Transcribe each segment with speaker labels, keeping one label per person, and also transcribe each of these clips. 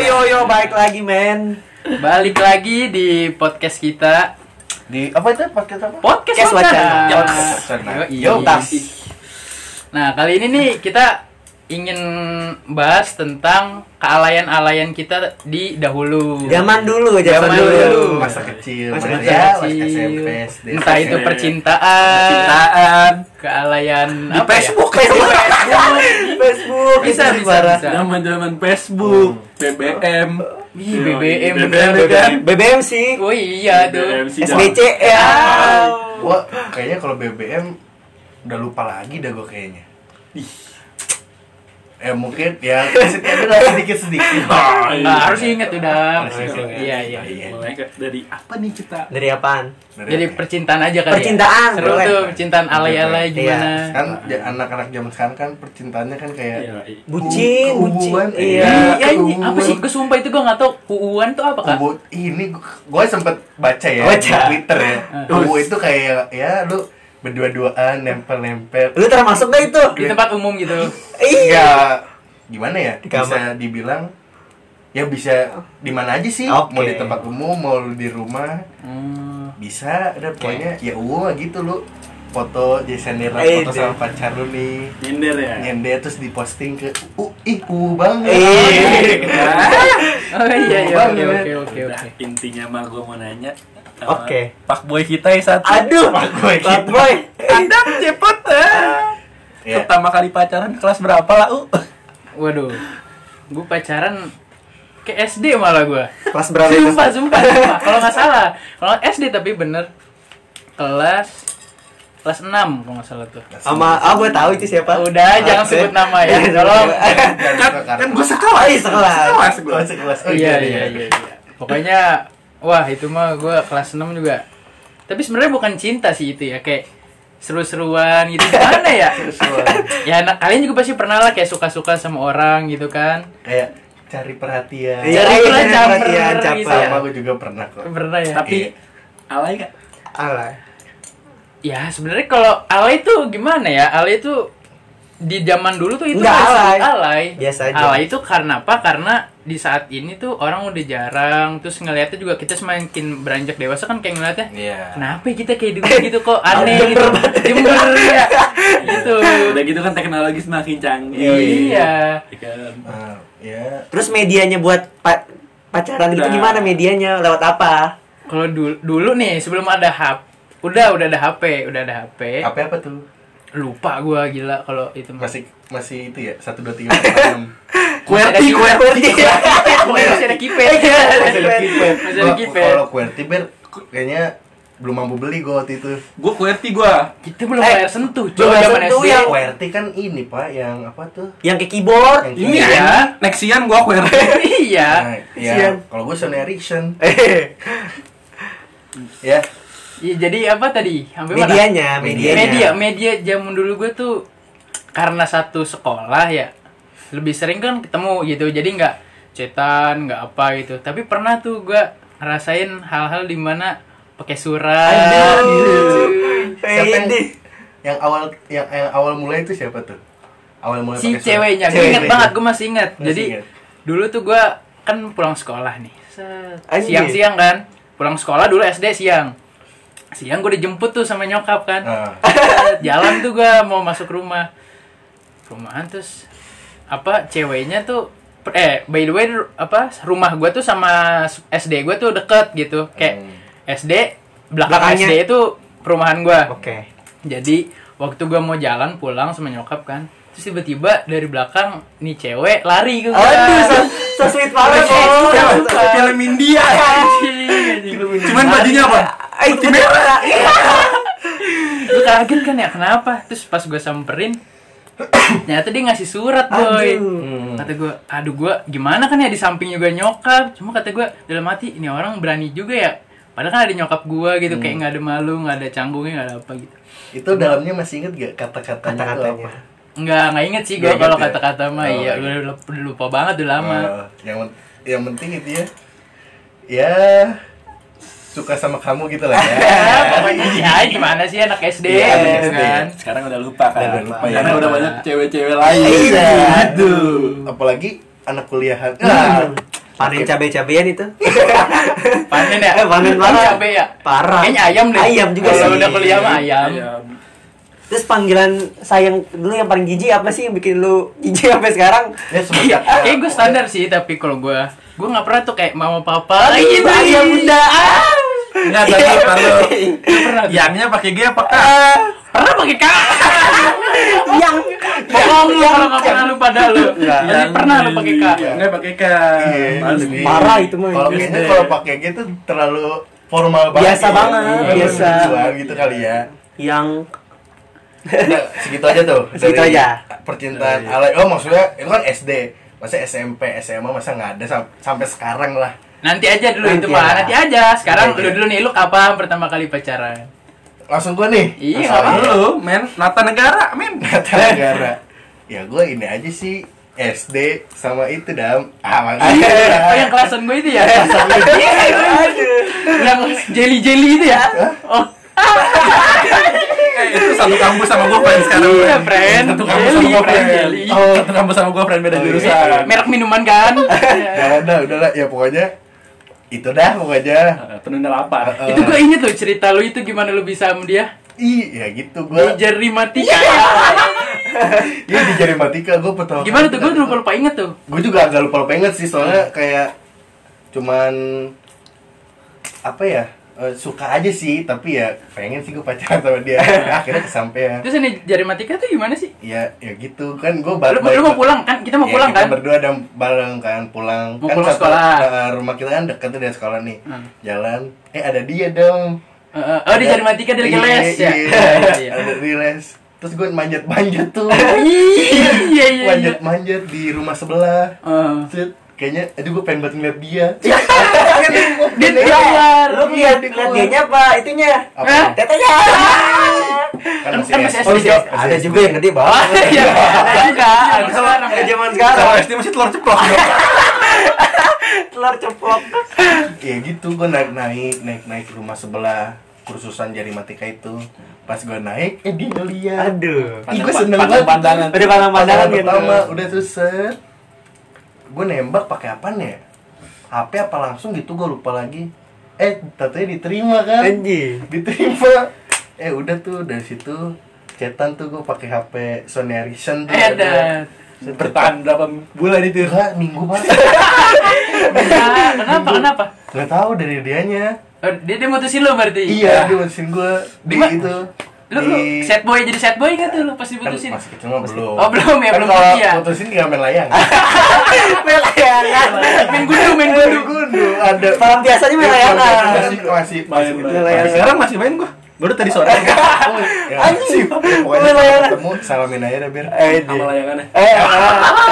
Speaker 1: yo yo balik lagi men.
Speaker 2: Balik lagi di podcast kita.
Speaker 3: Di apa itu podcast apa?
Speaker 2: Podcast,
Speaker 1: Podcast wacana.
Speaker 3: Podcast wacana.
Speaker 2: Yo, iya.
Speaker 3: Yo, tas.
Speaker 2: Nah, kali ini nih kita ingin bahas tentang kealayan-alayan kita di dahulu.
Speaker 1: Zaman dulu, zaman,
Speaker 2: Zaman
Speaker 1: dulu.
Speaker 2: dulu.
Speaker 3: Masa kecil,
Speaker 1: Masa
Speaker 3: masa
Speaker 1: kecil.
Speaker 3: ya, masa
Speaker 2: Kecil. Iya.
Speaker 3: SMP, SD.
Speaker 2: Entah itu
Speaker 3: SMP.
Speaker 2: percintaan,
Speaker 4: Cintaan
Speaker 2: kealayan
Speaker 4: di
Speaker 2: apa ya?
Speaker 4: Facebook
Speaker 1: Facebook
Speaker 2: Bisa,
Speaker 1: bisa
Speaker 2: bisa,
Speaker 1: parah.
Speaker 2: bisa.
Speaker 4: Zaman-zaman Facebook, BBM,
Speaker 2: Ih, BBM,
Speaker 4: BBM,
Speaker 2: bener. kan?
Speaker 1: BBM
Speaker 4: BBM.
Speaker 1: sih.
Speaker 2: Oh iya tuh.
Speaker 1: SBC ya.
Speaker 4: Ah.
Speaker 3: Gua kayaknya kalau BBM udah lupa lagi dah gua kayaknya. Eh mungkin ya sedikit sedikit.
Speaker 2: Nah, harus inget udah.
Speaker 3: Harus inget.
Speaker 2: Iya, iya.
Speaker 4: Mulai ke- dari apa nih kita?
Speaker 1: Dari apaan?
Speaker 2: Jadi percintaan aja kali. ya?
Speaker 1: Percintaan,
Speaker 2: Seru
Speaker 1: boleh.
Speaker 2: tuh percintaan alay-alay
Speaker 1: Iya.
Speaker 2: gimana.
Speaker 3: kan ya, anak-anak zaman sekarang kan percintaannya kan kayak
Speaker 4: Iya, iya.
Speaker 1: Bucin,
Speaker 3: Keuuan,
Speaker 1: bucin.
Speaker 3: iya.
Speaker 1: Iya.
Speaker 2: Iya, ini apa
Speaker 3: keuuan.
Speaker 2: sih? Gue sumpah itu gue gak tau kuuan tuh apa kak?
Speaker 3: Kubu ini gue sempet baca ya
Speaker 1: Baca.
Speaker 3: di Twitter ya.
Speaker 2: Ah.
Speaker 3: Kubu itu kayak ya lu berdua-duaan nempel-nempel.
Speaker 1: Lu termasuk gak itu?
Speaker 2: Di tempat umum gitu.
Speaker 1: Iya.
Speaker 3: Ya gimana ya?
Speaker 1: Di kamar.
Speaker 3: Bisa dibilang ya bisa di mana aja sih?
Speaker 1: Oke.
Speaker 3: Mau di tempat umum, mau lu di rumah,
Speaker 2: Hmm.
Speaker 3: bisa ada pokoknya ya uang gitu lu foto Jason Derulo
Speaker 1: Eh,
Speaker 3: foto
Speaker 1: deh.
Speaker 3: sama pacar lu nih
Speaker 4: Nyender ya.
Speaker 3: nyender terus diposting ke uh ih uh banget
Speaker 1: Eh.
Speaker 2: Oh iya iya
Speaker 3: Kuuan,
Speaker 2: oke
Speaker 3: ya.
Speaker 2: oke oke
Speaker 4: Udah,
Speaker 2: oke.
Speaker 4: intinya mah gue mau nanya. eh,
Speaker 1: Oke.
Speaker 4: Pak boy kita yang satu.
Speaker 1: Aduh.
Speaker 3: Pak boy.
Speaker 1: Pak boy.
Speaker 4: Anda cepet
Speaker 3: Ya.
Speaker 4: eh. Pertama kali pacaran kelas berapa lah, U?
Speaker 2: Waduh, gue pacaran ke SD malah Iya. gue.
Speaker 1: Kelas berapa itu?
Speaker 2: Sumpah sumpah. sumpah. Kalau nggak salah, kalau SD tapi bener kelas kelas 6 kalau nggak salah tuh.
Speaker 1: Sama ah gua tahu itu siapa.
Speaker 2: Udah jangan
Speaker 1: Oke.
Speaker 2: sebut nama ya.
Speaker 1: Jangan sebut
Speaker 2: Tolong.
Speaker 1: nama.
Speaker 3: kan kan
Speaker 4: gue sekolah.
Speaker 1: Ih, sekelas.
Speaker 4: Sekelas gue.
Speaker 3: sekelas sekelas Oh,
Speaker 2: Iya iya iya. iya. Pokoknya wah itu mah gue kelas 6 juga. Tapi sebenarnya bukan cinta sih itu ya kayak seru-seruan gitu gimana ya? ya anak kalian juga pasti pernah lah kayak suka-suka sama orang gitu kan
Speaker 3: kayak cari perhatian
Speaker 1: Iya,
Speaker 2: Cari
Speaker 1: iya,
Speaker 2: pelan
Speaker 1: iya,
Speaker 2: caper
Speaker 1: perhatian,
Speaker 2: gitu
Speaker 1: caper.
Speaker 2: ya.
Speaker 3: sama gue juga pernah kok
Speaker 2: pernah ya
Speaker 4: Tapi
Speaker 3: Iya.
Speaker 4: alay gak?
Speaker 1: Alah.
Speaker 2: ya sebenarnya kalau alay itu gimana ya alay itu di zaman dulu tuh itu
Speaker 1: Nggak
Speaker 2: nggak
Speaker 1: alay.
Speaker 2: disebut alay
Speaker 1: Biasa aja.
Speaker 2: alay itu karena apa karena di saat ini tuh orang udah jarang terus ngeliatnya juga kita semakin beranjak dewasa kan kayak ngeliatnya
Speaker 3: iya
Speaker 2: kenapa ya kita kayak dulu gitu kok aneh gitu
Speaker 1: Jember banget.
Speaker 2: jember ya gitu
Speaker 4: Udah gitu kan teknologi semakin canggih.
Speaker 2: iya
Speaker 4: Kan.
Speaker 3: Ah, ya
Speaker 1: Terus medianya buat pa- pacaran itu
Speaker 4: Nah.
Speaker 1: gimana medianya? Lewat apa?
Speaker 2: kalau dulu dulu nih sebelum ada HP udah udah ada HP udah ada HP
Speaker 3: apa apa tuh
Speaker 2: lupa gua gila kalau itu mah.
Speaker 3: masih masih itu ya satu dua tiga empat enam
Speaker 2: Masih ada keypad.
Speaker 1: QWERTY.
Speaker 2: masih ada keypad
Speaker 3: masih ada keypad
Speaker 2: Masih ada
Speaker 3: Gua-
Speaker 2: keypad.
Speaker 3: kalau QWERTY ber kayaknya belum mampu beli gue waktu itu
Speaker 4: Gue QWERTY gue.
Speaker 2: kita belum
Speaker 1: Eh,
Speaker 2: bayar sentuh
Speaker 1: belum
Speaker 2: coba
Speaker 1: bayar
Speaker 2: zaman
Speaker 1: sentuh
Speaker 2: SD
Speaker 1: yang-
Speaker 3: QWERTY kan ini pak yang apa tuh
Speaker 1: Yang ke keyboard.
Speaker 3: yang
Speaker 4: Ini
Speaker 2: Iya.
Speaker 4: ya. Eh, Nexian gue QWERTY.
Speaker 2: iya
Speaker 3: Nah,
Speaker 1: Sian.
Speaker 3: ya kalau gue Sony Ericsson
Speaker 1: Eh,
Speaker 3: ya
Speaker 2: Iya, jadi apa tadi sampai mana?
Speaker 1: medianya,
Speaker 3: Media.
Speaker 1: medianya.
Speaker 2: media media zaman dulu gue tuh karena satu sekolah ya lebih sering kan ketemu gitu jadi nggak cetan nggak apa gitu tapi pernah tuh gue ngerasain hal-hal dimana pakai surat Gitu.
Speaker 1: Aduh. Eh,
Speaker 3: siapa yang,
Speaker 1: ini.
Speaker 3: yang awal yang, yang awal mulai itu siapa tuh awal mulai
Speaker 2: si
Speaker 3: pakai surat.
Speaker 2: ceweknya gue
Speaker 3: Ceweknya.
Speaker 2: inget banget gue masih inget
Speaker 3: Masih
Speaker 2: jadi
Speaker 3: ingat.
Speaker 2: dulu tuh gue kan pulang sekolah nih Set.
Speaker 1: Anjir.
Speaker 2: siang-siang kan pulang sekolah dulu SD siang siang gue dijemput tuh sama nyokap kan
Speaker 3: Ah.
Speaker 2: Set, jalan tuh gue mau masuk rumah rumahan terus apa ceweknya tuh per- eh by the way ru- apa rumah gue tuh sama s- SD gue tuh deket gitu kayak
Speaker 3: Hmm.
Speaker 2: SD belakang
Speaker 1: Belakangnya. Oh.
Speaker 2: SD itu perumahan gue
Speaker 1: Oke.
Speaker 2: jadi waktu gua mau jalan pulang sama nyokap kan Terus tiba-tiba dari belakang nih cewek lari ke gua
Speaker 1: Aduh, so, so sweet banget.
Speaker 2: Terus
Speaker 1: Bos.
Speaker 4: Oh,
Speaker 2: film-
Speaker 4: Film India. Cuman bajunya apa?
Speaker 1: Eh, itu merah.
Speaker 2: Lu kaget kan ya kenapa Terus pas gua samperin Ternyata dia ngasih surat boy
Speaker 1: Aduh.
Speaker 3: Hmm.
Speaker 2: Kata gua, aduh gua gimana kan ya di samping juga nyokap Cuma kata gua dalam hati ini orang berani juga ya Padahal kan ada nyokap gua gitu
Speaker 3: Hmm.
Speaker 2: Kayak nggak ada malu, nggak ada canggungnya, nggak ada apa gitu
Speaker 3: itu dalamnya masih inget gak kata-katanya tuh
Speaker 1: Kata-katanya.
Speaker 3: apa?
Speaker 2: Nggak, nggak inget sih gua
Speaker 3: Nggak inget
Speaker 2: kalau
Speaker 3: ya?
Speaker 2: kata-kata mah
Speaker 3: Oh,
Speaker 2: Iya,
Speaker 3: iya.
Speaker 2: udah udah- udah lupa banget udah lama
Speaker 3: Eh, yang men- yang penting itu ya ya suka sama kamu gitu lah ya
Speaker 2: Ya, pokoknya ya gimana sih anak SD
Speaker 3: Iya, anak
Speaker 2: gitu
Speaker 3: SD.
Speaker 2: kan.
Speaker 4: Sekarang udah lupa kan?
Speaker 3: Udah lupa,
Speaker 4: Karena
Speaker 3: ya.
Speaker 4: udah banyak cewek-cewek lain.
Speaker 1: Iya.
Speaker 4: Aduh.
Speaker 1: Hmm.
Speaker 3: apalagi anak kuliahan Nah,
Speaker 1: panen cabai-cabean itu
Speaker 2: Panen ya?
Speaker 1: Eh, panen
Speaker 2: Kan
Speaker 1: parah.
Speaker 2: cabe ya?
Speaker 1: Parah.
Speaker 2: Kayaknya ayam deh.
Speaker 1: Ayam juga
Speaker 2: Kalau
Speaker 1: sih.
Speaker 2: udah kuliah mah ayam.
Speaker 1: terus panggilan sayang dulu yang paling jijik apa sih yang bikin lu jijik sampai sekarang
Speaker 3: Ya
Speaker 2: Iya,
Speaker 3: semenjak
Speaker 2: kayak gue standar sih tapi kalau gue gue nggak pernah tuh kayak mama papa iya,
Speaker 1: Ayam, ayam bunda ah.
Speaker 4: Enggak tadi kalau
Speaker 2: Nggak pernah tuh.
Speaker 4: Iya. yangnya pakai G apa K?
Speaker 1: Ah.
Speaker 2: pernah pakai kak
Speaker 1: yang
Speaker 2: bohong lu kalau nggak
Speaker 3: Iya.
Speaker 2: pernah lu pada lu
Speaker 4: Iya.
Speaker 1: Nggak.
Speaker 2: jadi pernah lu pakai kak
Speaker 4: Enggak pakai K.
Speaker 3: Iya.
Speaker 4: Males nih.
Speaker 1: parah itu mah iya.
Speaker 3: kalau
Speaker 1: Terus
Speaker 3: kayaknya kalau pakai gitu terlalu formal banget.
Speaker 1: Biasa
Speaker 3: ya.
Speaker 1: banget,
Speaker 3: Iya,
Speaker 1: biasa.
Speaker 3: lucuan gitu kali ya.
Speaker 1: yang
Speaker 3: Nah, segitu aja tuh.
Speaker 1: Segitu
Speaker 3: dari
Speaker 1: aja.
Speaker 3: Percintaan alay. Oh, maksudnya itu kan SD. Masa SMP, SMA masa nggak ada sam- sampai sekarang lah.
Speaker 2: nanti aja dulu itu
Speaker 1: Nanti
Speaker 2: mah
Speaker 1: aja.
Speaker 2: nanti aja sekarang
Speaker 3: Nanti
Speaker 2: lu
Speaker 3: aja.
Speaker 2: dulu nih lu kapan pertama kali pacaran
Speaker 3: Langsung gua nih.
Speaker 2: Iya,
Speaker 3: masalahnya.
Speaker 4: Lu men nata negara men.
Speaker 3: Kata negara. Ya gua ini aja sih SD sama itu dam.
Speaker 2: oh
Speaker 3: Ah,
Speaker 2: yang
Speaker 3: makanya.
Speaker 2: kelasan gue itu ya yang jelly jelly itu ya oh
Speaker 4: Eh, itu satu kampus sama gua friend sekarang.
Speaker 2: iya
Speaker 4: men.
Speaker 2: friend
Speaker 4: Satu kampus sama
Speaker 2: jelly
Speaker 4: gua friend.
Speaker 2: friend Iya. jelly
Speaker 4: Oh, satu kampus sama gua friend beda
Speaker 3: Oh, iya.
Speaker 4: jurusan.
Speaker 2: merek minuman kan
Speaker 3: Ya udah, udahlah. Ya pokoknya itu dah pokoknya.
Speaker 4: Eh, Penunda lapar.
Speaker 2: itu gue inget loh cerita lu itu gimana lu bisa sama dia
Speaker 3: Iya gitu gua.
Speaker 2: Di Jerimatika
Speaker 3: Iya di Jarimatika gua pertama.
Speaker 2: kan? Gimana tuh? Gue lupa Hmm. lupa inget tuh.
Speaker 3: gue juga agak lupa lupa inget sih soalnya kayak cuman apa ya eh, suka aja sih tapi ya pengen sih gue pacaran sama dia akhirnya kesampean
Speaker 2: Terus ini Jerimatika tuh gimana sih?
Speaker 3: ya ya gitu kan gue
Speaker 2: Lu, lu mau pulang kan? Kita mau pulang kan?
Speaker 3: Ya, Iya, berdua dan bareng kan pulang
Speaker 2: Mau
Speaker 3: kan
Speaker 2: pulang sekolah.
Speaker 3: eh, rumah kita kan deket tuh dari sekolah nih
Speaker 2: Hmm.
Speaker 3: jalan eh ada dia dong
Speaker 2: Eh, eh, oh di Jerimatika dia lagi
Speaker 3: Iya,
Speaker 2: les ya.
Speaker 3: iya,
Speaker 2: Iya.
Speaker 3: ada di les terus gue manjat manjat tuh
Speaker 2: Iya iya iya.
Speaker 3: manjat manjat di rumah sebelah
Speaker 2: Eh,
Speaker 3: Set, kayaknya aduh gue pengen banget ngeliat dia
Speaker 2: Iya, Dia
Speaker 3: dia
Speaker 2: keluar.
Speaker 1: iya, lu lihat
Speaker 3: Di
Speaker 1: lihat
Speaker 3: keluar.
Speaker 1: dianya apa itunya
Speaker 3: apa
Speaker 2: Hah?
Speaker 1: tetenya
Speaker 3: kan
Speaker 2: Kan
Speaker 3: masih
Speaker 2: masih
Speaker 3: SD
Speaker 1: oh
Speaker 2: SD.
Speaker 1: iya ada juga yang gede
Speaker 2: Oh
Speaker 1: banget
Speaker 2: iya ada juga. Ada sekarang.
Speaker 1: Eh, zaman
Speaker 4: Kalau
Speaker 1: sekarang
Speaker 4: SD masih telur ceplok. dong.
Speaker 1: telur ceplok
Speaker 3: ya gitu gue naik naik naik naik ke rumah sebelah kursusan jari matika itu pas gue naik eh dia ngeliat
Speaker 1: aduh
Speaker 3: Ih, gue seneng banget
Speaker 4: Pandang-pandangan.
Speaker 1: udah pandang pandangan
Speaker 3: Pandangan
Speaker 1: gitu
Speaker 3: pertama udah tuh set gue nembak pakai apa ya HP apa langsung gitu gue lupa lagi eh tatanya diterima kan
Speaker 1: anjing
Speaker 3: diterima eh udah tuh dari situ cetan tuh gue pakai HP Sony Ericsson tuh
Speaker 2: Eh, ada.
Speaker 4: Bertahan berapa bulan itu?
Speaker 3: Enggak, minggu banget
Speaker 2: Nah, Kenapa kenapa?
Speaker 3: nggak tahu dari dianya
Speaker 2: Oh, Dia dia mutusin lu berarti.
Speaker 3: iya dia mutusin gue
Speaker 2: Di
Speaker 3: di
Speaker 2: ma-
Speaker 3: itu
Speaker 2: Lu lu set boy jadi set boy gak tuh lu pas diputusin?
Speaker 3: Kan masih kecil mah belum
Speaker 2: Oh, belum ya,
Speaker 3: Kan
Speaker 2: belum
Speaker 3: kalau
Speaker 2: jadi ya.
Speaker 3: putusin nggak main layang
Speaker 1: melayangan
Speaker 2: Main gundu main
Speaker 3: Main
Speaker 2: gundu.
Speaker 3: gundu Eh, ada
Speaker 1: Malam biasanya main
Speaker 3: Iya, malam
Speaker 1: layangan.
Speaker 3: biasanya masih masih masih
Speaker 4: Main Iya.
Speaker 3: gitu.
Speaker 1: layangan.
Speaker 4: Tapi sekarang masih main gua. Baru tadi sore. Oh,
Speaker 3: Ya,
Speaker 1: Anjing.
Speaker 3: pokoknya
Speaker 1: Main
Speaker 3: kalau
Speaker 1: layangan.
Speaker 3: ketemu salamin aja dah biar
Speaker 1: eh
Speaker 4: Sama layangannya.
Speaker 1: eh ah.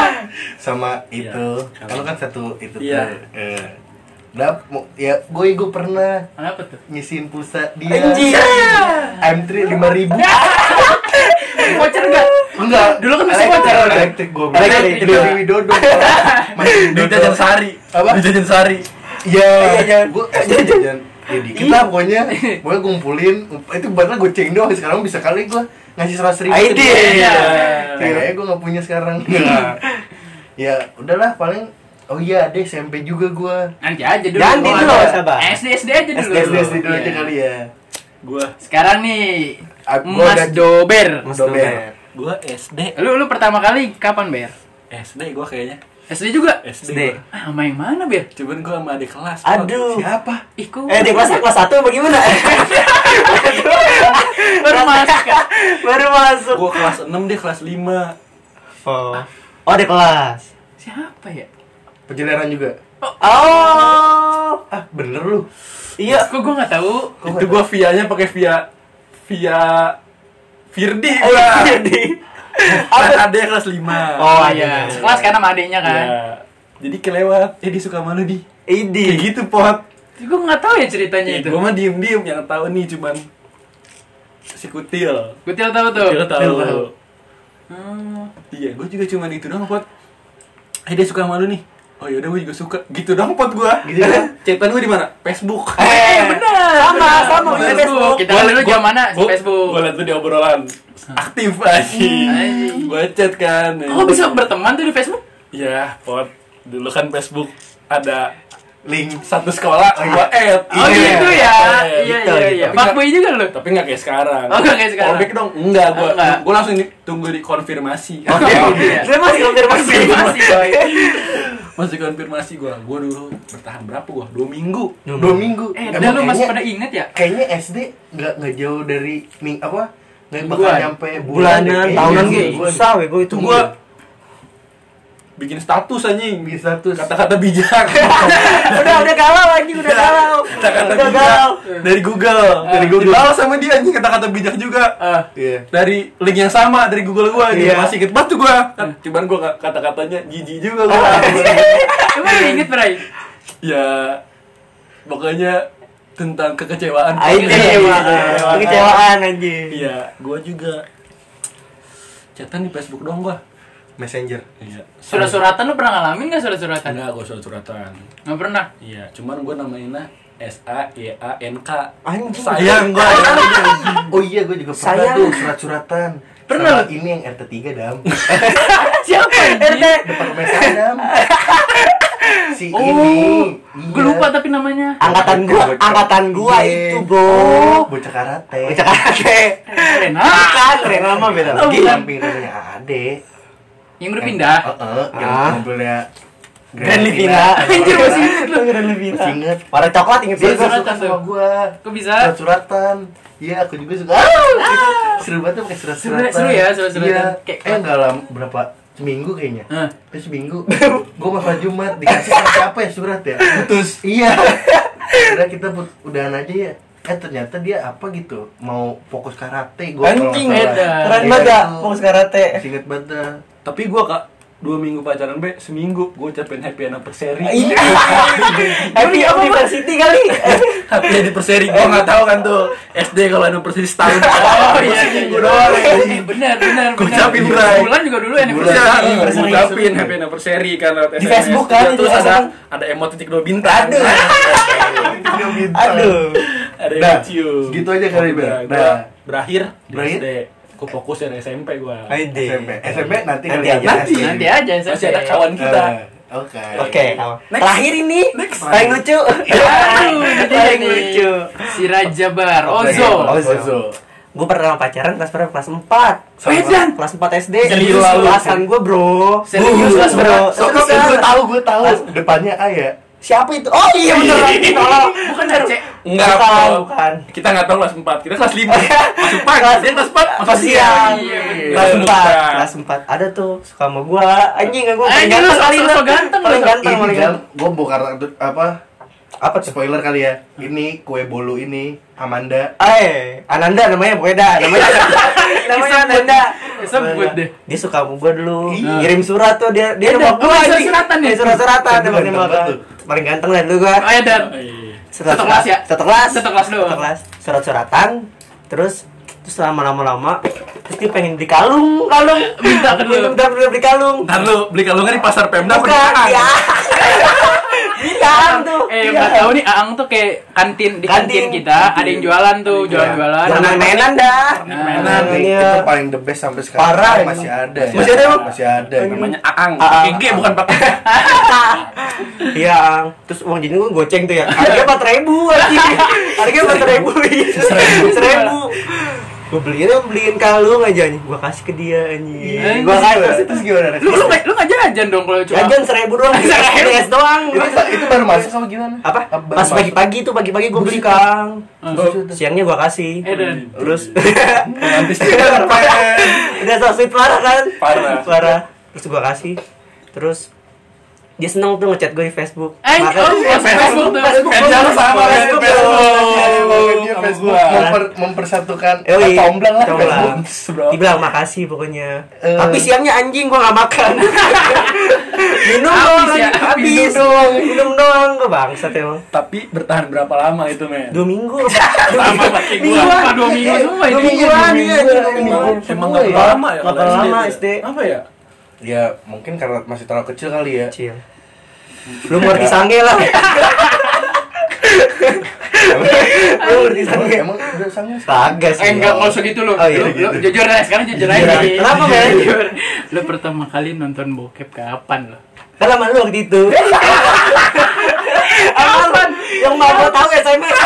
Speaker 3: sama itu kalau kan satu itu
Speaker 4: Iya.
Speaker 3: tuh eh, Dap, mau- ya gue gue pernah
Speaker 2: Kenapa tuh?
Speaker 3: ngisiin pulsa dia
Speaker 1: anjing
Speaker 3: M3 lima ribu
Speaker 2: Voucher enggak?
Speaker 3: enggak
Speaker 2: Dulu kan masih
Speaker 3: elektrik,
Speaker 2: pacaran.
Speaker 3: elektrik gue
Speaker 1: Elektrik,
Speaker 3: elektrik dari Widodo masih
Speaker 4: Di jajan sehari.
Speaker 3: Apa?
Speaker 4: Di jajan sehari.
Speaker 3: Iya,
Speaker 1: Iya, iya.
Speaker 3: gue jajan ya dikit lah pokoknya pokoknya kumpulin itu baru goceng doang sekarang bisa kali gue ngasih seratus ribu
Speaker 1: Aidi. Iya.
Speaker 3: kayaknya gue nggak punya sekarang ya udahlah paling oh iya ada SMP juga gue
Speaker 2: Nanti aja dulu.
Speaker 1: Nanti
Speaker 2: Oh,
Speaker 1: dulu,
Speaker 2: ada.
Speaker 1: sabar.
Speaker 2: SD SD aja dulu.
Speaker 3: SD SD dulu aja
Speaker 2: Iya.
Speaker 3: kali ya
Speaker 4: Gua
Speaker 2: Sekarang nih
Speaker 3: Ah, gua
Speaker 2: Mas
Speaker 3: udah-
Speaker 2: Dober.
Speaker 1: Mas
Speaker 3: dober
Speaker 4: gua SD.
Speaker 2: Lu lu pertama kali kapan, Ber?
Speaker 4: SD gua kayaknya.
Speaker 2: SD juga?
Speaker 1: SD.
Speaker 4: SD. gua.
Speaker 2: Ah, sama yang mana, Ber?
Speaker 4: Cuman gua sama adik kelas.
Speaker 1: aduh
Speaker 3: siapa
Speaker 2: Ih, kok
Speaker 1: eh di kelas kelas satu bagaimana
Speaker 2: baru masuk ya?
Speaker 1: baru masuk
Speaker 4: Gua kelas 6 dia kelas 5.
Speaker 1: oh oh di kelas
Speaker 2: Siapa ya?
Speaker 3: penjelaran juga
Speaker 1: oh
Speaker 3: ah bener lu
Speaker 1: iya
Speaker 2: Kok gua nggak tahu?
Speaker 3: Oh,
Speaker 4: itu gua via-nya pakai via via Firdi
Speaker 1: Oh,
Speaker 4: gua.
Speaker 1: jadi
Speaker 4: Kelas ada yang kelas 5.
Speaker 1: iya. Oh,
Speaker 2: iya.
Speaker 1: iya.
Speaker 2: Sekelas kan sama adiknya kan?
Speaker 4: Jadi kelewat. Eh dia suka malu di. Kayak
Speaker 1: ini
Speaker 4: gitu pot.
Speaker 2: Tapi Gua nggak tahu ya ceritanya itu.
Speaker 4: Iya, Gua mah diem-diem yang tahu nih cuman si kutil.
Speaker 2: Gua tidak tahu tuh.
Speaker 4: Kutil
Speaker 3: tahu.
Speaker 4: tahu.
Speaker 2: Hmm.
Speaker 4: Iya, gue juga cuman itu doang, Pot. Eh, dia suka malu nih. Oh yaudah, gue juga suka. Gitu doang, Pot, gue.
Speaker 3: Gitu doang.
Speaker 4: Cetan gue di mana? Facebook.
Speaker 1: eh
Speaker 2: Benar.
Speaker 1: sama sama di Facebook
Speaker 2: Kita kan dulu zaman mana? Facebook. Iya.
Speaker 4: Gue liat tuh di obrolan. Aktif aja.
Speaker 2: Anjing.
Speaker 4: Gue chat kan.
Speaker 2: Kok bisa berteman tuh di Facebook?
Speaker 4: Ya, Pot. Dulu kan Facebook ada
Speaker 3: link
Speaker 4: satu sekolah
Speaker 3: Oh, iya.
Speaker 4: dua ed.
Speaker 2: Oh
Speaker 3: Iya,
Speaker 2: gitu ya.
Speaker 4: Iya,
Speaker 2: Iya iya
Speaker 1: gitu, gitu.
Speaker 2: iya.
Speaker 4: Tapi nggak-
Speaker 2: Fuckboy juga lu.
Speaker 4: Tapi nggak kayak sekarang.
Speaker 2: Oh, nggak kayak sekarang.
Speaker 4: Callback dong? Enggak, gua,
Speaker 2: Oh, nggak.
Speaker 4: gua langsung di- tunggu dikonfirmasi.
Speaker 2: iya.
Speaker 1: Dia masih konfirmasi.
Speaker 2: Konfirmasi, Boy.
Speaker 4: Masih konfirmasi gua. Gua dulu bertahan berapa gua? Dua minggu.
Speaker 3: dua minggu.
Speaker 2: Eh,
Speaker 3: Emang
Speaker 2: dah lu masih
Speaker 3: kayaknya-
Speaker 2: pada inget ya?
Speaker 3: Kayaknya SD nggak nggak jauh dari ming apa nggak bakal
Speaker 2: Mingguan.
Speaker 3: nyampe bulan
Speaker 4: Bulanan,
Speaker 3: deh,
Speaker 1: Tahunan gitu.
Speaker 3: kayaknya.
Speaker 1: gue
Speaker 2: Iya,
Speaker 3: Bulan.
Speaker 1: susah gue itu
Speaker 4: Itu
Speaker 1: gue.
Speaker 4: gua bikin status anjing.
Speaker 3: Bikin status.
Speaker 4: Kata-kata bijak.
Speaker 1: udah udah galau anjing udah
Speaker 4: Iya.
Speaker 1: galau.
Speaker 4: Kata-kata
Speaker 1: Udah
Speaker 4: bijak
Speaker 1: galau.
Speaker 4: dari Google.
Speaker 2: Dari
Speaker 3: Google.
Speaker 4: Dibalas sama dia anjing kata-kata bijak juga.
Speaker 2: Eh,
Speaker 3: Iya.
Speaker 4: dari link yang sama dari Google gua anjing.
Speaker 1: Iya.
Speaker 4: masih inget banget tuh gua Kan, cuman gua nggak- kata-katanya jijik juga
Speaker 2: Oh,
Speaker 4: gua
Speaker 2: iya. Emang lu inget, Bray?
Speaker 4: ya pokoknya tentang kekecewaan
Speaker 1: Ah, ini
Speaker 4: Kekecewaan.
Speaker 2: Iya,
Speaker 1: kecewaan anjing.
Speaker 4: iya gua juga chatan di Facebook doang gua
Speaker 3: Messenger.
Speaker 4: iya
Speaker 2: Surat-suratan lu pernah ngalamin gak surat-suratan?
Speaker 4: enggak gua surat suratan
Speaker 2: Nggak pernah.
Speaker 4: iya cuman gua namainnya S A Y A N K
Speaker 3: Anjing.
Speaker 4: sayang gua
Speaker 3: Oh iya, gue juga pernah
Speaker 1: Sayang.
Speaker 3: tuh surat-suratan.
Speaker 2: Pernah
Speaker 3: Sama
Speaker 2: lu?
Speaker 3: ini yang RT 3 dam.
Speaker 2: Siapa
Speaker 1: RT
Speaker 2: ini?
Speaker 3: Departemen saya dam. Si ini.
Speaker 2: Oh, gue
Speaker 3: Iya.
Speaker 2: lupa tapi namanya.
Speaker 1: angkatan gua,
Speaker 3: Bocah.
Speaker 1: angkatan gua
Speaker 3: Iya. Oh.
Speaker 1: itu bro.
Speaker 3: Bocah karate.
Speaker 1: Bocah karate.
Speaker 2: Rena.
Speaker 1: Bukan, Rena mah beda
Speaker 2: Oh,
Speaker 1: lagi.
Speaker 2: bukan.
Speaker 3: Samping namanya Ade.
Speaker 2: Yang udah pindah.
Speaker 4: Eh, oh.
Speaker 3: Heeh, Eh, yang
Speaker 1: Ah.
Speaker 3: mobilnya
Speaker 1: Grand Livina.
Speaker 2: Anjir, masih inget lu.
Speaker 1: Grand Livina.
Speaker 3: Masih inget.
Speaker 1: Warna coklat inget
Speaker 3: Dia
Speaker 1: sih gua.
Speaker 3: juga suka
Speaker 2: Surat-suratan
Speaker 3: sama
Speaker 2: tuh.
Speaker 3: gua.
Speaker 2: Kok bisa?
Speaker 3: Surat-suratan. Iya, aku juga suka. Ah, itu seru banget tuh pakai surat-suratan.
Speaker 2: Seru- seru ya, surat-suratan.
Speaker 3: Iya.
Speaker 2: Kayak-
Speaker 3: Eh, enggak lama berapa seminggu kayaknya. Eh,
Speaker 2: Hah.
Speaker 3: Terus minggu gue masalah Jumat dikasih sama siapa ya surat ya?
Speaker 4: putus
Speaker 3: iya. Udah kita put- udahan aja ya. Eh ternyata dia apa gitu mau fokus karate gue
Speaker 4: Anjing,
Speaker 2: beda.
Speaker 1: Keren banget
Speaker 3: Iya,
Speaker 1: ya, fokus karate.
Speaker 3: Singkat banget dah.
Speaker 4: tapi gua kak dua minggu pacaran be seminggu gua ucapin happy anniversary
Speaker 1: Happy
Speaker 2: Iya. Apa, Pak?
Speaker 1: University kali.
Speaker 4: Tapi jadi perseri gua nggak tahu kan tuh SD kalau ada perseri setahun.
Speaker 2: Oh iya, iya, iya.
Speaker 4: Gua doang.
Speaker 2: Eh, Bener, bener,
Speaker 4: Gua
Speaker 2: bener.
Speaker 4: ucapin, Bray.
Speaker 2: Bulan juga dulu
Speaker 4: Bulan
Speaker 2: anniversary.
Speaker 4: gua ucapin happy anniversary kan lewat
Speaker 1: Di
Speaker 4: SMS.
Speaker 1: Facebook kan,
Speaker 4: Iya, terus
Speaker 1: di
Speaker 4: ada
Speaker 1: SMS.
Speaker 4: ada emot titik dua bintang. Nah,
Speaker 1: Aduh. Aduh.
Speaker 4: Ada yang
Speaker 3: Dah,
Speaker 4: lucu.
Speaker 3: gitu aja kali, Bel.
Speaker 4: Udah, gua
Speaker 3: Dah.
Speaker 4: berakhir di
Speaker 3: Berakhir?
Speaker 4: SD. Gua fokus dari SMP gua.
Speaker 1: Aide.
Speaker 3: SMP. SMP nanti
Speaker 1: Nanti
Speaker 3: kali aja.
Speaker 1: aja.
Speaker 4: Nanti.
Speaker 2: Nanti aja, saya
Speaker 4: Masih ada kawan kita.
Speaker 3: Eh, Oke.
Speaker 1: Oke, kawan. Terakhir ini
Speaker 4: Next.
Speaker 1: paling lucu.
Speaker 2: Aduh, ini dia
Speaker 1: Paling
Speaker 2: nih.
Speaker 1: lucu.
Speaker 2: Si Raja Bar,
Speaker 1: Ozo.
Speaker 2: Ozo.
Speaker 3: Ozo.
Speaker 1: Gue pernah pacaran kelas berapa? Kelas 4.
Speaker 2: Medan.
Speaker 1: Kelas 4 SD.
Speaker 2: Serius lu?
Speaker 1: Kelasan gue, Bro.
Speaker 2: Serius, kelas berapa?
Speaker 1: Serius,
Speaker 3: Sokap gue tahu, gue tahu. Depannya A ya.
Speaker 1: Siapa itu? Oh iya bener.
Speaker 2: Oh,
Speaker 1: Tolong.
Speaker 2: Bukan Aceh.
Speaker 1: Bukan,
Speaker 4: Enggak, Bro.
Speaker 1: bukan.
Speaker 4: Kita nggak tahu kelas 4, kita kelas 5. Masuk pagi, dia kelas 4, masuk
Speaker 1: Pas
Speaker 4: siang.
Speaker 1: siang.
Speaker 2: Iya, bener.
Speaker 1: Kelas empat.
Speaker 4: Bukan.
Speaker 1: Kelas empat. Ada tuh suka sama gua. Anjing enggak gua.
Speaker 2: Anjing,
Speaker 1: paling
Speaker 2: lu
Speaker 1: ganteng
Speaker 2: sok-
Speaker 1: kali
Speaker 2: sok ganteng
Speaker 1: Paling
Speaker 2: lu.
Speaker 1: ganteng Iya,
Speaker 3: Ini
Speaker 1: paling
Speaker 3: kan
Speaker 1: ganteng.
Speaker 3: gue bongkar apa
Speaker 1: Apa tuh?
Speaker 3: spoiler kali ya. Ini kue bolu ini Amanda.
Speaker 1: Eh, Ananda namanya beda, namanya namanya
Speaker 2: Disebut.
Speaker 1: Ananda.
Speaker 2: Disebut deh.
Speaker 1: Dia suka sama gua dulu.
Speaker 3: Iya.
Speaker 1: Ngirim surat tuh dia dia
Speaker 2: Beda.
Speaker 1: nembak gua.
Speaker 2: Oh,
Speaker 1: anjing.
Speaker 2: surat-suratan ya?
Speaker 1: Eh, Surat-suratan
Speaker 3: Itu
Speaker 1: nembak
Speaker 3: ganteng
Speaker 1: nembak gua.
Speaker 3: banget
Speaker 1: Paling ganteng lah dulu gua.
Speaker 2: Oh ya, Dan.
Speaker 1: Iya.
Speaker 4: Iya.
Speaker 1: Surat-
Speaker 2: Satu kelas ya?
Speaker 1: Satu kelas.
Speaker 2: Satu kelas doang.
Speaker 1: Satu kelas. Surat-suratan. Terus terus lama-lama lama terus dia pengen beli kalung, kalung.
Speaker 2: Minta ke lu.
Speaker 1: Minta beli beli kalung.
Speaker 4: Ntar lu beli kalungnya di pasar Pemda apa di
Speaker 1: Bukan,
Speaker 4: Aan?
Speaker 1: ya. Bukan tuh.
Speaker 2: Eh,
Speaker 1: Iya.
Speaker 2: nggak tahu nih Aang tuh kayak kantin di
Speaker 1: Kantin.
Speaker 2: kantin kita ada yang jualan tuh, jualan-jualan. Nah,
Speaker 1: Jangan mainan dah.
Speaker 4: Mainan.
Speaker 3: Ini
Speaker 1: Iya.
Speaker 3: itu paling the best sampai sekarang.
Speaker 1: Parah,
Speaker 3: masih
Speaker 1: emang.
Speaker 3: ada.
Speaker 1: Masih ada, Bang?
Speaker 3: Masih ada. Namanya
Speaker 4: namanya Aang
Speaker 1: Aang.
Speaker 4: pakai G bukan pakai K.
Speaker 1: Iya, Ang. terus uang jajan gue goceng tuh ya. Harganya empat ribu aja. Harganya empat ribu. Seribu. Gue beliin, gua beliin kalung aja nih. Gue kasih ke dia
Speaker 2: Eh,
Speaker 1: anjing. Gue kasih.
Speaker 3: terus gimana?
Speaker 2: Lu lu nggak- lu nggak jajan dong kalau cuma.
Speaker 1: Jajan seribu doang.
Speaker 2: Seribu.
Speaker 1: Seribu doang.
Speaker 3: Itu, itu baru masuk apa gimana?
Speaker 1: Apa?
Speaker 3: Baru
Speaker 1: Pas
Speaker 3: masuk.
Speaker 1: pagi-pagi tuh pagi-pagi gue beli kang.
Speaker 3: Terus-
Speaker 1: Siangnya gue kasih.
Speaker 2: Eh, Dan.
Speaker 1: Terus
Speaker 4: Nanti
Speaker 1: udah so sweet parah kan
Speaker 4: Parah.
Speaker 1: parah terus gua kasih terus dia seneng tuh ngechat gue di Facebook
Speaker 2: Eh,
Speaker 1: Makanya-
Speaker 2: oh, Facebook, Facebook,
Speaker 1: Facebook,
Speaker 4: Kencan lu sama
Speaker 1: Facebook,
Speaker 4: kayak
Speaker 1: Facebook.
Speaker 4: Facebook.
Speaker 3: Dia
Speaker 4: Sama
Speaker 3: Facebook
Speaker 4: gua.
Speaker 3: memper- mempersatukan
Speaker 1: Eh,
Speaker 3: eh,
Speaker 1: iya.
Speaker 3: tomblang lah
Speaker 1: Tomblang.
Speaker 3: Facebook.
Speaker 4: Bro.
Speaker 1: Dibilang makasih pokoknya
Speaker 3: Eh.
Speaker 1: Tapi siangnya anjing gua gak makan Minum doang
Speaker 2: Habis ya,
Speaker 1: anjing.
Speaker 2: habis.
Speaker 1: Minum doang Minum doang Gue bangsat emang
Speaker 4: Tapi bertahan berapa lama itu, men?
Speaker 1: Dua minggu
Speaker 4: Sama pakai gua.
Speaker 1: Mingguan.
Speaker 2: Apa dua minggu semua
Speaker 1: Dua
Speaker 2: ini?
Speaker 1: mingguan
Speaker 3: Dua
Speaker 1: iya
Speaker 3: mingguan.
Speaker 1: anjing, dua mingguan.
Speaker 4: Emang- Emang
Speaker 3: Semua
Speaker 4: nggak
Speaker 3: ya.
Speaker 4: lama ya?
Speaker 1: Nggak
Speaker 4: kalau
Speaker 1: lama,
Speaker 4: itu?
Speaker 1: SD.
Speaker 4: Apa ya?
Speaker 3: Ya mungkin karena masih terlalu kecil kali ya.
Speaker 1: Kecil Belum ngerti sange lah Belum ngerti sange
Speaker 3: Emang udah sangat.
Speaker 1: Kagak sih
Speaker 2: Eh enggak
Speaker 1: Bang.
Speaker 2: kalau segitu lu.
Speaker 1: Oh, iya,
Speaker 2: Lu- lu
Speaker 3: gitu.
Speaker 2: jujur aja sekarang jujur
Speaker 1: Jujur
Speaker 2: aja.
Speaker 1: aja. Kenapa, Bel?
Speaker 2: Jujur. Lu pertama kali nonton bokep kapan lo?
Speaker 1: Kan sama lu waktu itu. Apaan? Yang mau tahu SMS.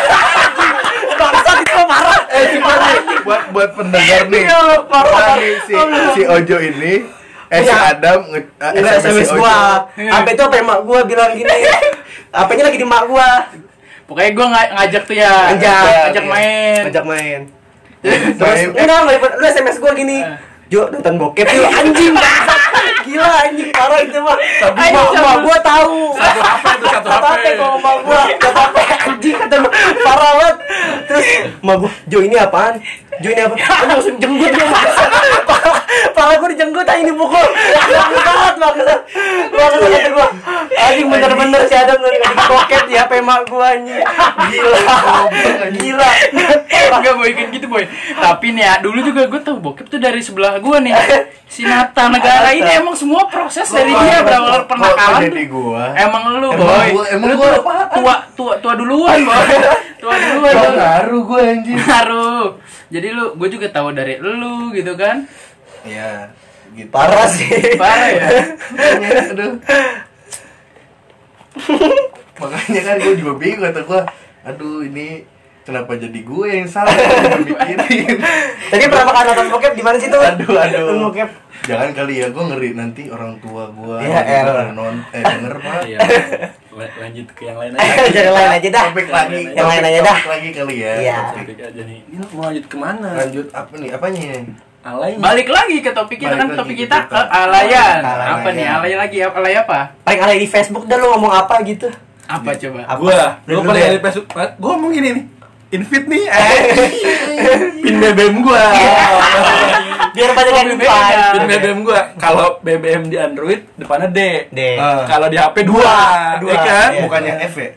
Speaker 1: Bangsat itu mah marah.
Speaker 3: eh cuma nih, buat buat pendengar nih
Speaker 1: Iya, parah.
Speaker 3: Buat nih, si si Ojo ini eh si
Speaker 1: Iya.
Speaker 3: Adam nge- eh,
Speaker 1: Enggak SMS
Speaker 3: si Ojo.
Speaker 1: gua. Apa itu apa emak gua bilang gini. Apanya lagi di mak gua.
Speaker 2: Pokoknya gue ngajak tuh ya,
Speaker 1: Ngajak,
Speaker 2: ngajak
Speaker 1: iya.
Speaker 2: main.
Speaker 1: Ngajak main. Terus
Speaker 3: Main-
Speaker 1: enggak enggak, lu SMS gua gini.
Speaker 2: Eh.
Speaker 1: Jo nonton bokep yuk anjing bangsat. Gila anjing parah itu mah. Tapi
Speaker 2: Anjing,
Speaker 1: mak mak
Speaker 2: sama-
Speaker 1: gua tahu.
Speaker 4: Satu HP itu satu
Speaker 1: Kata
Speaker 4: HP.
Speaker 1: apa kalau mak gua kata apa anjing kata gua, parah banget. Terus mak gua Jo ini apaan? Jo ini apa? Aku langsung jenggut gua bangsat. Parah, parah gua dijenggut aja ini pukul. Jenggut banget bangsat. Bangsat kata gua. Anjing bener-bener si Adam nggak dikasih bokep di HP mak gua anjing. Gila. Gila.
Speaker 2: Enggak boy kayak gitu boy. Tapi nih ya dulu juga gue tahu bokep tuh dari sebelah gue nih. Si Nata negara ini emang semua proses dari dia berawal
Speaker 3: Kok
Speaker 2: pernakalan.
Speaker 3: jadi
Speaker 2: tuh.
Speaker 3: gua
Speaker 2: Emang lu
Speaker 3: Emang
Speaker 2: boy.
Speaker 3: gua- emang
Speaker 2: Lu
Speaker 3: gua
Speaker 2: tuh tua tua tua duluan boy. Tua duluan.
Speaker 3: Gak
Speaker 2: boy.
Speaker 3: ngaruh gua anjir
Speaker 2: Ngaruh. Jadi lu gue juga tahu dari lu gitu kan.
Speaker 3: Iya gitu.
Speaker 1: Parah sih.
Speaker 2: Parah ya.
Speaker 3: Makanya, aduh. Makanya kan gue juga bingung kata gue, aduh ini kenapa jadi gue yang salah yang mikirin.
Speaker 1: Tadi pertama kali nonton bokep di mana sih tuh?
Speaker 3: Aduh aduh.
Speaker 1: Nonton bokep.
Speaker 3: Jangan kali ya gue ngeri nanti orang tua gue
Speaker 1: Iya, El.
Speaker 3: non eh denger mah.
Speaker 4: Iya. Lan- Lanjut ke yang lain aja.
Speaker 1: Jadi lain aja Iya dah.
Speaker 3: Topik lagi,
Speaker 1: Yang lain aja
Speaker 3: topik-
Speaker 1: dah.
Speaker 3: topik lagi kali ya.
Speaker 1: Iya.
Speaker 3: Topik.
Speaker 4: Topik aja nih. Ini mau lanjut kemana?
Speaker 3: Lanjut apa nih? Apanya?
Speaker 4: Alay.
Speaker 2: Balik lagi ke topik kita
Speaker 3: Balik
Speaker 2: kan
Speaker 3: lagi
Speaker 2: topik
Speaker 3: ke
Speaker 2: kita
Speaker 3: kita.
Speaker 2: ke alayan.
Speaker 3: Alayan.
Speaker 2: Apa nih alayan lagi? Alay apa?
Speaker 1: Paling kali di Facebook dah lu ngomong apa gitu.
Speaker 2: Apa coba?
Speaker 1: Apa?
Speaker 4: Gua,
Speaker 1: Dari dulu
Speaker 4: gua
Speaker 1: Iya,
Speaker 4: paling
Speaker 1: ya?
Speaker 4: dari Facebook. Gua ngomong gini nih. Invite nih, eh. Pin BBM gua.
Speaker 1: Iya. Biar pada
Speaker 2: Oh,
Speaker 1: kan
Speaker 2: BBM
Speaker 1: depan.
Speaker 2: ya.
Speaker 4: Pin BBM gua. Kalau BBM di Android depannya D.
Speaker 1: D.
Speaker 4: Eh, Kalau di HP dua,
Speaker 1: Dua.
Speaker 4: ya kan?
Speaker 1: Iya.
Speaker 3: Bukannya F ya?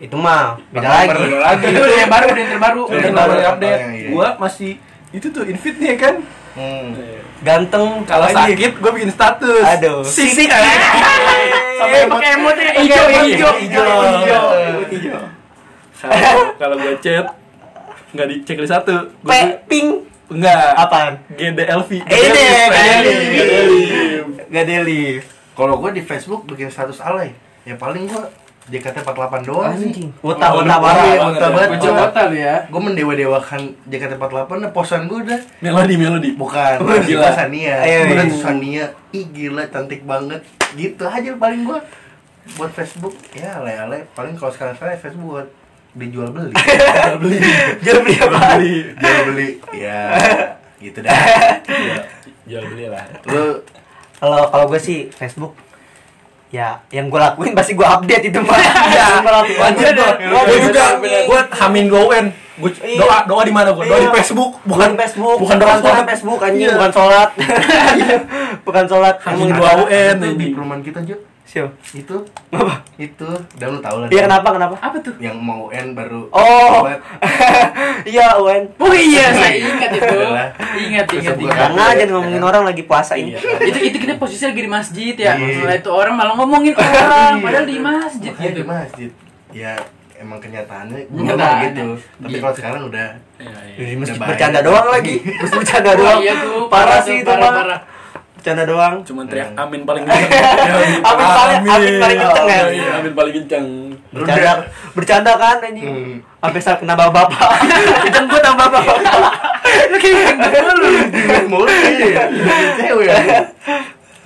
Speaker 1: Itu mah beda
Speaker 3: Nomor
Speaker 1: lagi.
Speaker 3: dua
Speaker 4: Lagi.
Speaker 2: Itu yang baru, udah yang terbaru.
Speaker 4: Udah
Speaker 1: Yang
Speaker 4: baru
Speaker 1: baru.
Speaker 4: update.
Speaker 3: Oh, iya, iya.
Speaker 4: Gua masih itu tuh invite nih ya kan.
Speaker 3: Hmm.
Speaker 1: Iya. Ganteng
Speaker 4: Kalau
Speaker 1: apalagi.
Speaker 4: sakit gua bikin status.
Speaker 1: Aduh.
Speaker 4: Sisik.
Speaker 2: Sampai pakai emot yang
Speaker 1: Pakai
Speaker 2: hijau
Speaker 1: emot
Speaker 2: hijau
Speaker 1: hijau.
Speaker 2: hijau.
Speaker 4: Kalau- Kalau gua chat nggak dicek di satu.
Speaker 1: P
Speaker 4: Gua
Speaker 1: ping
Speaker 4: enggak.
Speaker 1: apaan?
Speaker 4: GDLV.
Speaker 1: Ini
Speaker 4: GDLV.
Speaker 1: Gak ada lift.
Speaker 3: Kalau gue di Facebook bikin status alay, ya paling gue JKT48 doang sih.
Speaker 1: Utah
Speaker 4: Oh,
Speaker 1: utah
Speaker 4: lu-
Speaker 1: parah.
Speaker 4: iya,
Speaker 3: Utah
Speaker 4: bener,
Speaker 3: banget.
Speaker 2: Hijau total ya.
Speaker 3: Gue mendewa-dewakan JKT48 nah posan gue udah
Speaker 4: Melodi melodi.
Speaker 3: bukan
Speaker 4: Gila.
Speaker 3: gila Sania.
Speaker 1: Ayo, ayo.
Speaker 3: Bener Sania. Ih gila cantik banget. Gitu aja paling gue buat Facebook ya alay-alay paling kalau sekarang sekarang Facebook buat dijual beli jual beli
Speaker 1: Jual beli apa?
Speaker 3: jual beli ya gitu dah Iya.
Speaker 4: Jual beli lah.
Speaker 3: lu
Speaker 1: Kalau kalau gue sih Facebook ya yang gue lakuin pasti gue update itu mah. Iya,
Speaker 4: Wajar dong. Gue juga. Gue hamin doain. Gue
Speaker 1: Iya.
Speaker 4: doa doa di mana gue? Doa
Speaker 1: Iya.
Speaker 4: di Facebook.
Speaker 1: bukan
Speaker 4: Bukan
Speaker 1: Facebook
Speaker 4: Bukan doa
Speaker 1: bukan
Speaker 4: sholat.
Speaker 1: Facebook anjing
Speaker 4: Iya.
Speaker 1: bukan sholat bukan sholat
Speaker 4: Anjing
Speaker 1: Emang
Speaker 4: dua
Speaker 1: ada-
Speaker 4: UN
Speaker 3: Itu di
Speaker 4: anjing.
Speaker 3: perumahan kita Jo
Speaker 1: Siapa?
Speaker 3: itu
Speaker 1: apa
Speaker 3: itu dan lu tau lah
Speaker 1: iya
Speaker 3: Dan.
Speaker 1: kenapa kenapa
Speaker 2: Apa tuh?
Speaker 3: yang mau UN baru
Speaker 1: oh
Speaker 3: buat-
Speaker 1: iya UN
Speaker 2: Oh iya, saya ingat itu.
Speaker 3: Adalah.
Speaker 2: Ingat, ingat,
Speaker 3: Tersebut.
Speaker 2: ingat.
Speaker 1: Jangan aja ngomongin orang lagi puasa ini.
Speaker 4: Iya.
Speaker 2: itu itu kita posisi lagi di masjid ya.
Speaker 3: Iya.
Speaker 2: Setelah itu orang malah ngomongin orang padahal di masjid
Speaker 3: Makanya
Speaker 2: gitu.
Speaker 3: di masjid ya emang kenyataannya dulu
Speaker 2: Kenyataannya.
Speaker 3: mah gitu tapi
Speaker 2: Gitu.
Speaker 3: kalau sekarang udah
Speaker 4: Iya, iya.
Speaker 1: Jadi mesti
Speaker 3: Udah
Speaker 1: bercanda
Speaker 3: bahaya.
Speaker 1: doang lagi. Mesti bercanda
Speaker 2: Wah,
Speaker 1: doang.
Speaker 2: iya tuh,
Speaker 1: parah,
Speaker 2: tuh,
Speaker 1: sih itu
Speaker 2: parah,
Speaker 1: mah.
Speaker 2: parah.
Speaker 1: Bercanda doang.
Speaker 4: Cuman teriak amin paling kenceng.
Speaker 1: Iya. Amin paling- amin paling kenceng ya?
Speaker 4: Iya, Amin paling kenceng.
Speaker 1: Bercanda bercanda kan
Speaker 3: Hmm.
Speaker 1: anjing. Sampai saya kena bapak-bapak. Jenggot tambah bapak-bapak. gitu.
Speaker 2: Lu kayak dulu.
Speaker 3: Ingat mulu kayaknya ya. Ingat cewek ya.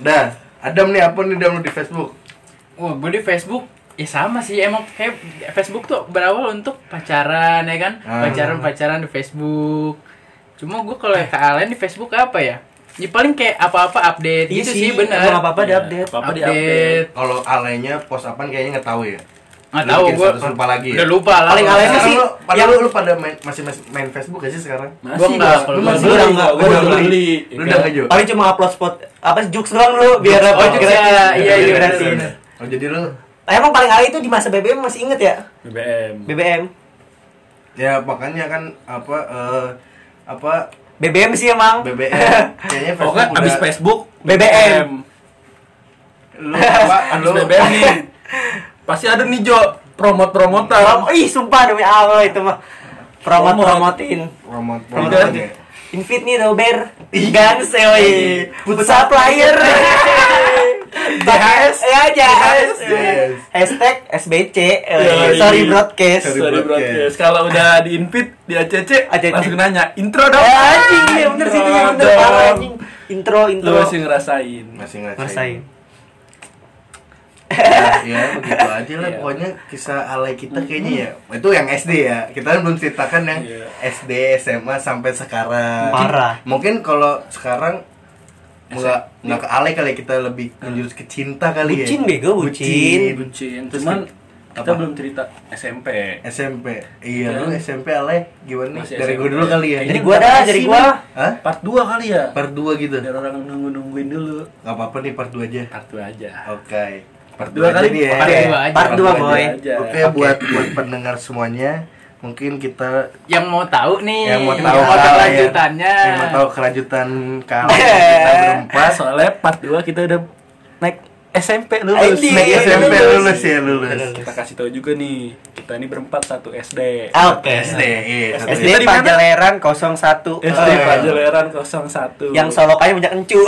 Speaker 3: Dah, Adam nih apa nih Adam lu di Facebook?
Speaker 2: Wah, gue di Facebook ya sama sih emang kayak Facebook tuh berawal untuk pacaran ya kan
Speaker 3: Ah.
Speaker 2: pacaran pacaran di Facebook cuma gue kalau ke Alen di Facebook apa ya ya paling kayak apa-apa
Speaker 1: Iya
Speaker 2: update gitu sih, bener
Speaker 1: Emang apa-apa di
Speaker 4: Iya,
Speaker 1: update.
Speaker 4: apa-apa di
Speaker 2: update
Speaker 3: Kalau alainya post apaan kayaknya nggak tahu ya.
Speaker 2: nggak
Speaker 3: Lu
Speaker 2: tahu
Speaker 3: bikin
Speaker 2: gue
Speaker 3: status lupa lagi ya?
Speaker 2: udah lupa lah
Speaker 1: Paling
Speaker 2: kalau
Speaker 1: Alen
Speaker 2: sekarang.
Speaker 1: sih,
Speaker 3: Sekarang lu, padahal
Speaker 1: yang-
Speaker 3: lu, lu pada main, masih masih main Facebook gak sih sekarang?
Speaker 4: Masih,
Speaker 2: Gua enggak, kalau
Speaker 4: Lu
Speaker 2: gua
Speaker 4: masih
Speaker 1: udah
Speaker 4: beli,
Speaker 1: enggak,
Speaker 4: gua
Speaker 1: gua
Speaker 4: udah
Speaker 1: udah
Speaker 4: beli. ya kan?
Speaker 3: Lu udah nggak Jo?
Speaker 1: Paling cuma upload spot apa sih jokes doang lu biar
Speaker 2: Jokes,
Speaker 1: apa?
Speaker 2: oh, jokes
Speaker 1: kira-
Speaker 2: ya,
Speaker 1: biar
Speaker 2: iya, iya,
Speaker 1: gratis.
Speaker 2: bener, bener.
Speaker 3: Oh jadi lu
Speaker 1: Nah, Emang paling kali itu di masa BBM masih inget ya?
Speaker 4: BBM.
Speaker 1: BBM.
Speaker 3: ya makanya kan apa eh, apa
Speaker 1: BBM sih emang.
Speaker 3: BBM kayaknya Facebook
Speaker 4: Pokoknya
Speaker 3: udah
Speaker 4: abis Facebook
Speaker 1: BBM.
Speaker 3: lu apa
Speaker 4: Abis
Speaker 3: lu
Speaker 4: BBM nih Pasti ada nih Jo Promot-promotan
Speaker 1: Prom- Ih, sumpah demi Allah itu mah.
Speaker 4: Promote.
Speaker 1: Promot-promotin.
Speaker 3: Promot
Speaker 4: Udah.
Speaker 3: promotan ya
Speaker 4: Iya,
Speaker 1: Invite nih Robert Gansel Pusat
Speaker 3: Futsal
Speaker 1: player JHS ya JHS
Speaker 3: Yes.
Speaker 1: hashtag SBC eh,
Speaker 4: Yoi.
Speaker 1: sorry broadcast
Speaker 3: Sorry.
Speaker 4: Iya, Sorry broadcast. Kalau udah di invite di ACC,
Speaker 1: ACC.
Speaker 4: langsung nanya intro dong.
Speaker 1: ya anjing iya bener sih itu
Speaker 4: Intro
Speaker 1: iya bener
Speaker 4: dong.
Speaker 1: parah anjing intro
Speaker 4: Lu
Speaker 1: intro
Speaker 4: masih ngerasain.
Speaker 3: masih
Speaker 1: ngerasain
Speaker 3: ngerasain ya, ya, begitu aja lah
Speaker 4: Iya.
Speaker 3: pokoknya kisah alay kita kayaknya ya itu yang SD ya kita kan belum ceritakan yang
Speaker 4: Iya.
Speaker 3: SD SMA sampai sekarang
Speaker 1: Parah.
Speaker 3: mungkin kalau sekarang nggak nggak ke alay kali ya, kita lebih menjurus ke cinta kali
Speaker 1: Bucin,
Speaker 3: ya
Speaker 1: bego, bucin.
Speaker 4: Bucin. Cuman kita
Speaker 3: Apa?
Speaker 4: belum cerita SMP.
Speaker 3: SMP iya lu
Speaker 4: Hmm.
Speaker 3: SMP alay gimana nih
Speaker 4: Masih
Speaker 3: dari
Speaker 4: SMP.
Speaker 3: gua dulu kali ya
Speaker 1: dari gua dah dari gua
Speaker 3: Hah?
Speaker 4: Part 2 kali ya?
Speaker 3: part 2 gitu
Speaker 4: Biar orang nunggu-nungguin dulu.
Speaker 3: nggak apa-apa nih part 2 aja
Speaker 4: Part 2 aja.
Speaker 3: oke part
Speaker 4: Dua
Speaker 3: 2 kali
Speaker 4: kali?
Speaker 3: nih ya
Speaker 2: Part
Speaker 1: Oke,
Speaker 2: dua aja.
Speaker 1: part dua
Speaker 4: Part dua
Speaker 1: boy
Speaker 4: aja.
Speaker 3: Oke buat buat pendengar semuanya mungkin kita
Speaker 2: Yang mau tahu nih.
Speaker 3: yang mau tahu
Speaker 2: yang mau
Speaker 3: hal ya,
Speaker 2: lanjutannya.
Speaker 3: yang mau tahu kelanjutan kalau kita berempat
Speaker 4: Pas soalnya part 2 kita udah naik SMP lulus.
Speaker 1: Anjing.
Speaker 3: naik
Speaker 1: Iya,
Speaker 3: SMP
Speaker 1: lulus.
Speaker 3: lulus ya lulus
Speaker 1: Lulus.
Speaker 4: Kita kasih tahu juga nih, kita ini berempat satu SD.
Speaker 1: oke
Speaker 3: SD iya satu
Speaker 1: SD
Speaker 4: Kita di mana?
Speaker 1: Pajaleran 01
Speaker 4: SD
Speaker 1: Eh,
Speaker 4: Pajeleran 01.
Speaker 1: yang solokannya banyak encu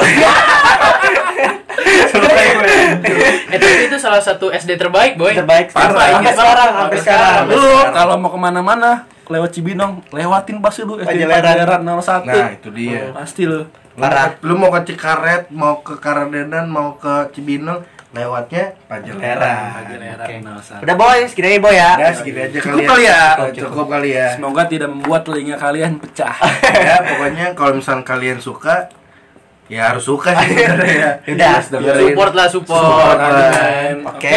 Speaker 2: Eh tapi itu salah satu SD terbaik, boy.
Speaker 1: terbaik
Speaker 4: Parah.
Speaker 1: sampai sekarang sampai sekarang
Speaker 4: Nah, Lu kalau mau kemana-mana lewat Cibinong, lewatin pasti lu SD
Speaker 1: Pajeleran.
Speaker 4: Pajeleran 01.
Speaker 3: nah itu dia
Speaker 4: Pasti lu.
Speaker 1: Parah.
Speaker 3: lu mau ke Cikaret mau ke Karadenan mau ke Cibinong lewatnya Pajeleran
Speaker 4: Pajeleran 01.
Speaker 1: udah boy segini aja boy ya
Speaker 3: ya segini aja
Speaker 4: Cukup
Speaker 3: kali
Speaker 4: kali ya?
Speaker 3: Cukup, cukup kali ya
Speaker 4: Semoga tidak membuat telinga kalian pecah.
Speaker 3: ya pokoknya kalau misalnya kalian suka ya harus suka sih sebenarnya ya
Speaker 1: Udah.
Speaker 3: Harus dengerin.
Speaker 2: Support lah support.
Speaker 3: Support
Speaker 4: lah.
Speaker 3: oke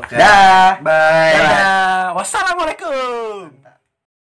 Speaker 1: oke dah Dadah.
Speaker 3: bye
Speaker 4: Ya, Wassalamualaikum.